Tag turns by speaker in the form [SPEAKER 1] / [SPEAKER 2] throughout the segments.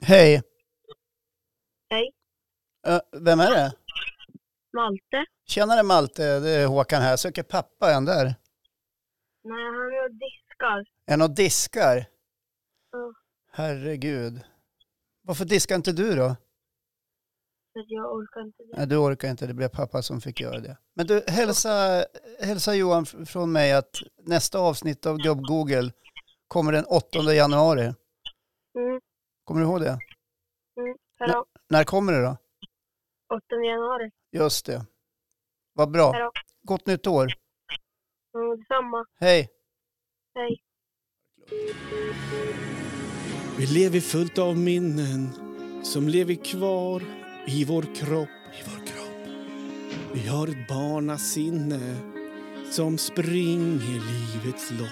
[SPEAKER 1] Hej.
[SPEAKER 2] Hej.
[SPEAKER 1] Ö, vem är det?
[SPEAKER 2] Malte?
[SPEAKER 1] Tjenare Malte, det är Håkan här. Söker pappa en där.
[SPEAKER 2] Nej, han gör diskar.
[SPEAKER 1] Är och diskar?
[SPEAKER 2] Ja.
[SPEAKER 1] Herregud. Varför diskar inte du då?
[SPEAKER 2] Så att jag orkar inte det.
[SPEAKER 1] Nej, du orkar inte, det blev pappa som fick göra det. Men du, hälsa, hälsa Johan f- från mig att nästa avsnitt av Gubb Google kommer den 8 januari.
[SPEAKER 2] Mm,
[SPEAKER 1] Kommer du ihåg det?
[SPEAKER 2] mm. Hallå?
[SPEAKER 1] När kommer det då?
[SPEAKER 2] 8 januari.
[SPEAKER 1] Just det. Vad bra.
[SPEAKER 2] Hallå?
[SPEAKER 1] Gott nytt år.
[SPEAKER 2] Mm, detsamma.
[SPEAKER 1] Hej.
[SPEAKER 2] Hej.
[SPEAKER 3] Vi lever fullt av minnen som lever kvar i vår kropp. I vår kropp. Vi har ett barnasinne som springer livets lopp.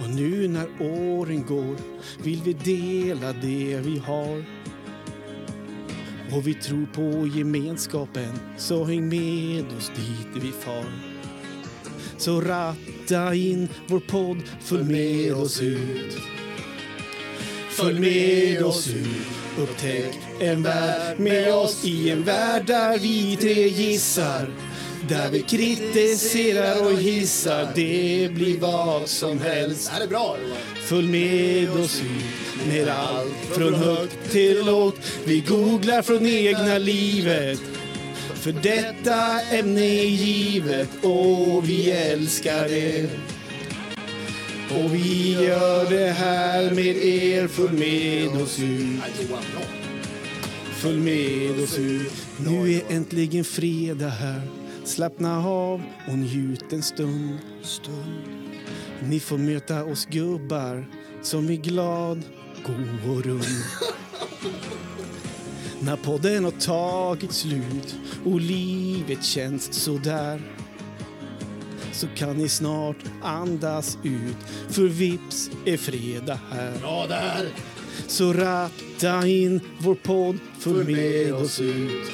[SPEAKER 3] Och nu när åren går vill vi dela det vi har. Och vi tror på gemenskapen, så häng med oss dit vi far. Så ratta in vår podd, följ med oss ut. Följ med oss ut, upptäck en värld med oss i en värld där vi tre gissar. Där vi kritiserar och hissar, det blir vad som helst.
[SPEAKER 4] Det här är bra Johan.
[SPEAKER 3] Följ med oss ut med allt från högt till lågt. Vi googlar från egna livet. För detta ämne är givet och vi älskar det. Och vi gör det här med er. Följ med oss ut.
[SPEAKER 4] Nej, Johan, bra.
[SPEAKER 3] Följ med oss ut. Nu är äntligen fredag här. Slappna av och njut en stund. stund. Ni får möta oss gubbar som är glad, god och rund. När podden har tagit slut och livet känns sådär så kan ni snart andas ut, för vips är fredag här.
[SPEAKER 4] Bra där.
[SPEAKER 3] Så ratta in vår podd, följ med oss ut.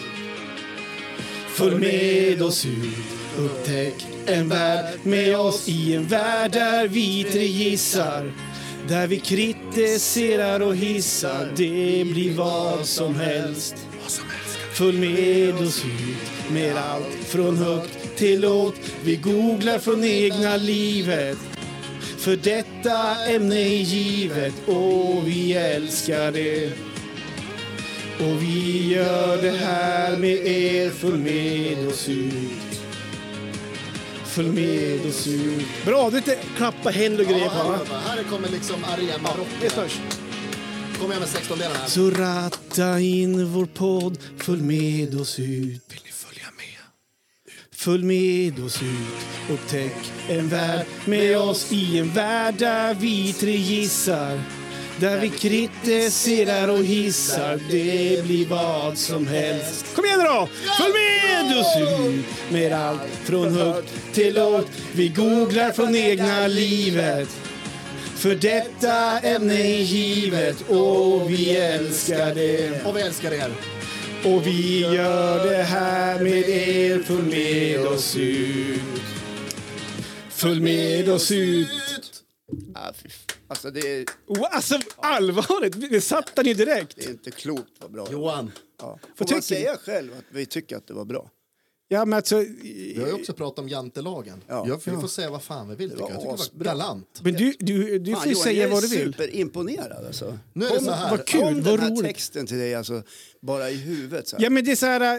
[SPEAKER 3] Följ med oss ut, upptäck en värld med oss i en värld där vi tre gissar. Där vi kritiserar och hissar, det blir vad som helst. Följ med oss ut med allt från högt till lågt. Vi googlar från egna livet. För detta ämne är givet och vi älskar det. Och vi gör det här med er. Följ med oss ut. Följ med oss ut. Bra, du inte klappa händer och grejer
[SPEAKER 4] Ja,
[SPEAKER 3] på va?
[SPEAKER 4] här, här kommer liksom arenarocken.
[SPEAKER 3] Det är störst.
[SPEAKER 4] Kommer jag med 16 delar här.
[SPEAKER 3] Så ratta in vår podd, följ med oss ut. Vill ni följa med? Följ med oss ut, upptäck en värld med oss i en värld där vi tre gissar. Där vi kritiserar och hissar, det blir vad som helst. Kom igen då! Följ med oss ut med allt från högt till lågt. Vi googlar från egna livet. För detta ämne är givet och vi älskar det.
[SPEAKER 4] Och vi älskar er.
[SPEAKER 3] Och vi gör det här med er. Följ med oss ut. Följ med oss ut.
[SPEAKER 5] Ah, fy f- alltså det är,
[SPEAKER 3] Oh, alltså allvarligt, det satt han ju direkt.
[SPEAKER 5] det är inte klokt vad bra det var.
[SPEAKER 4] Johan,
[SPEAKER 5] Ja. Får
[SPEAKER 3] Vad tycker
[SPEAKER 5] man säga själv att vi tycker att det var bra?
[SPEAKER 3] Ja, men alltså,
[SPEAKER 4] vi har ju också pratat om jantelagen.
[SPEAKER 5] Ja.
[SPEAKER 4] Vi får säga vad fan vi vill. tycker
[SPEAKER 5] var
[SPEAKER 4] Jag Jag tycker
[SPEAKER 5] asbra.
[SPEAKER 4] det var galant.
[SPEAKER 3] men du, du, du får
[SPEAKER 5] Fan,
[SPEAKER 3] ju
[SPEAKER 5] Johan,
[SPEAKER 3] säga
[SPEAKER 5] jag är
[SPEAKER 3] vad du vill.
[SPEAKER 5] superimponerad alltså.
[SPEAKER 4] Nu är det så här.
[SPEAKER 3] vad kul,
[SPEAKER 5] Om
[SPEAKER 3] vad
[SPEAKER 5] den här
[SPEAKER 3] roligt.
[SPEAKER 5] texten till dig alltså, bara i huvudet så här.
[SPEAKER 3] Ja, men det är så här... eh,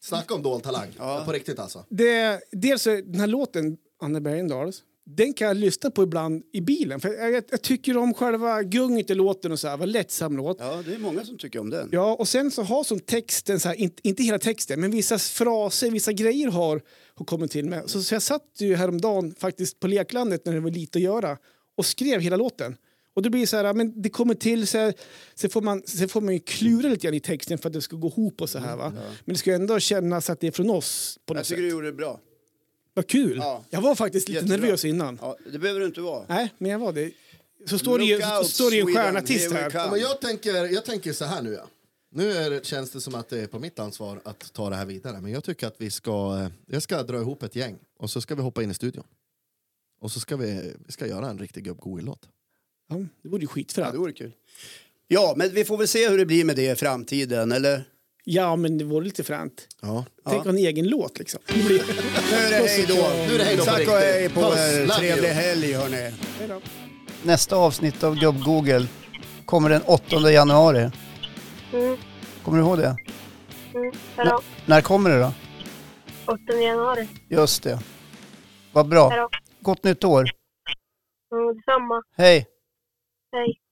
[SPEAKER 4] Snacka om dold talang. På riktigt alltså.
[SPEAKER 3] det, dels så är den här låten, Anna Bergendahls, den kan jag lyssna på ibland i bilen. För jag, jag tycker om själva gunget i låten och så här, vad lättsam låt.
[SPEAKER 5] Ja, det är många som tycker om den.
[SPEAKER 3] Ja, och sen så har som texten, så här, inte, inte hela texten, men vissa fraser, vissa grejer har, har kommit till mig. Så, så jag satt ju häromdagen faktiskt på leklandet när det var lite att göra och skrev hela låten. Och det blir så här, men det kommer till, så, här, så, får man, så får man ju klura lite grann i texten för att det ska gå ihop och så här va. Men det ska ju ändå kännas att det är från oss på något
[SPEAKER 5] Mm, Jag
[SPEAKER 3] sätt.
[SPEAKER 5] tycker du gjorde det bra.
[SPEAKER 3] Vad kul!
[SPEAKER 5] Ja.
[SPEAKER 3] Jag var faktiskt lite
[SPEAKER 5] Jättebra.
[SPEAKER 3] nervös innan.
[SPEAKER 5] Ja, det behöver du inte vara.
[SPEAKER 3] Nej, men jag var det. Så står det ju,
[SPEAKER 5] Look
[SPEAKER 3] så
[SPEAKER 5] out,
[SPEAKER 3] står det ju en
[SPEAKER 5] Sweden,
[SPEAKER 3] stjärnartist
[SPEAKER 5] here we
[SPEAKER 3] här.
[SPEAKER 5] come.
[SPEAKER 4] Men jag tänker, jag tänker så här nu. Ja. Nu är, det- känns det som att det är på mitt ansvar att ta det här vidare. Men jag tycker att vi ska, eh, jag ska dra ihop ett gäng och så ska vi hoppa in i studion. Och så ska vi, vi ska göra en riktig gubb låt
[SPEAKER 3] Ja, det vore ju
[SPEAKER 5] Ja,
[SPEAKER 3] skitfränt.
[SPEAKER 5] det vore kul. Ja, men vi får väl se hur det blir med det i framtiden, eller?
[SPEAKER 3] Ja, men det vore lite fränt.
[SPEAKER 4] Ja.
[SPEAKER 3] Tänk ha en egen låt liksom.
[SPEAKER 5] Nu är det hej då.
[SPEAKER 4] Nu är det hej då på
[SPEAKER 5] Tack och
[SPEAKER 4] riktigt.
[SPEAKER 5] hej på
[SPEAKER 4] Puss,
[SPEAKER 5] er.
[SPEAKER 4] love you.
[SPEAKER 5] Trevlig helg, hörni.
[SPEAKER 3] Hej då.
[SPEAKER 1] Nästa avsnitt av Gubb Google kommer den 8 januari.
[SPEAKER 2] Mm,
[SPEAKER 1] Kommer du ihåg det?
[SPEAKER 2] mm, hej då.
[SPEAKER 1] När kommer det då?
[SPEAKER 2] 8 januari.
[SPEAKER 1] Just det. Vad
[SPEAKER 2] Hej
[SPEAKER 1] bra.
[SPEAKER 2] då.
[SPEAKER 1] Gott nytt år.
[SPEAKER 2] Mm, detsamma.
[SPEAKER 1] Hej!
[SPEAKER 2] Hej.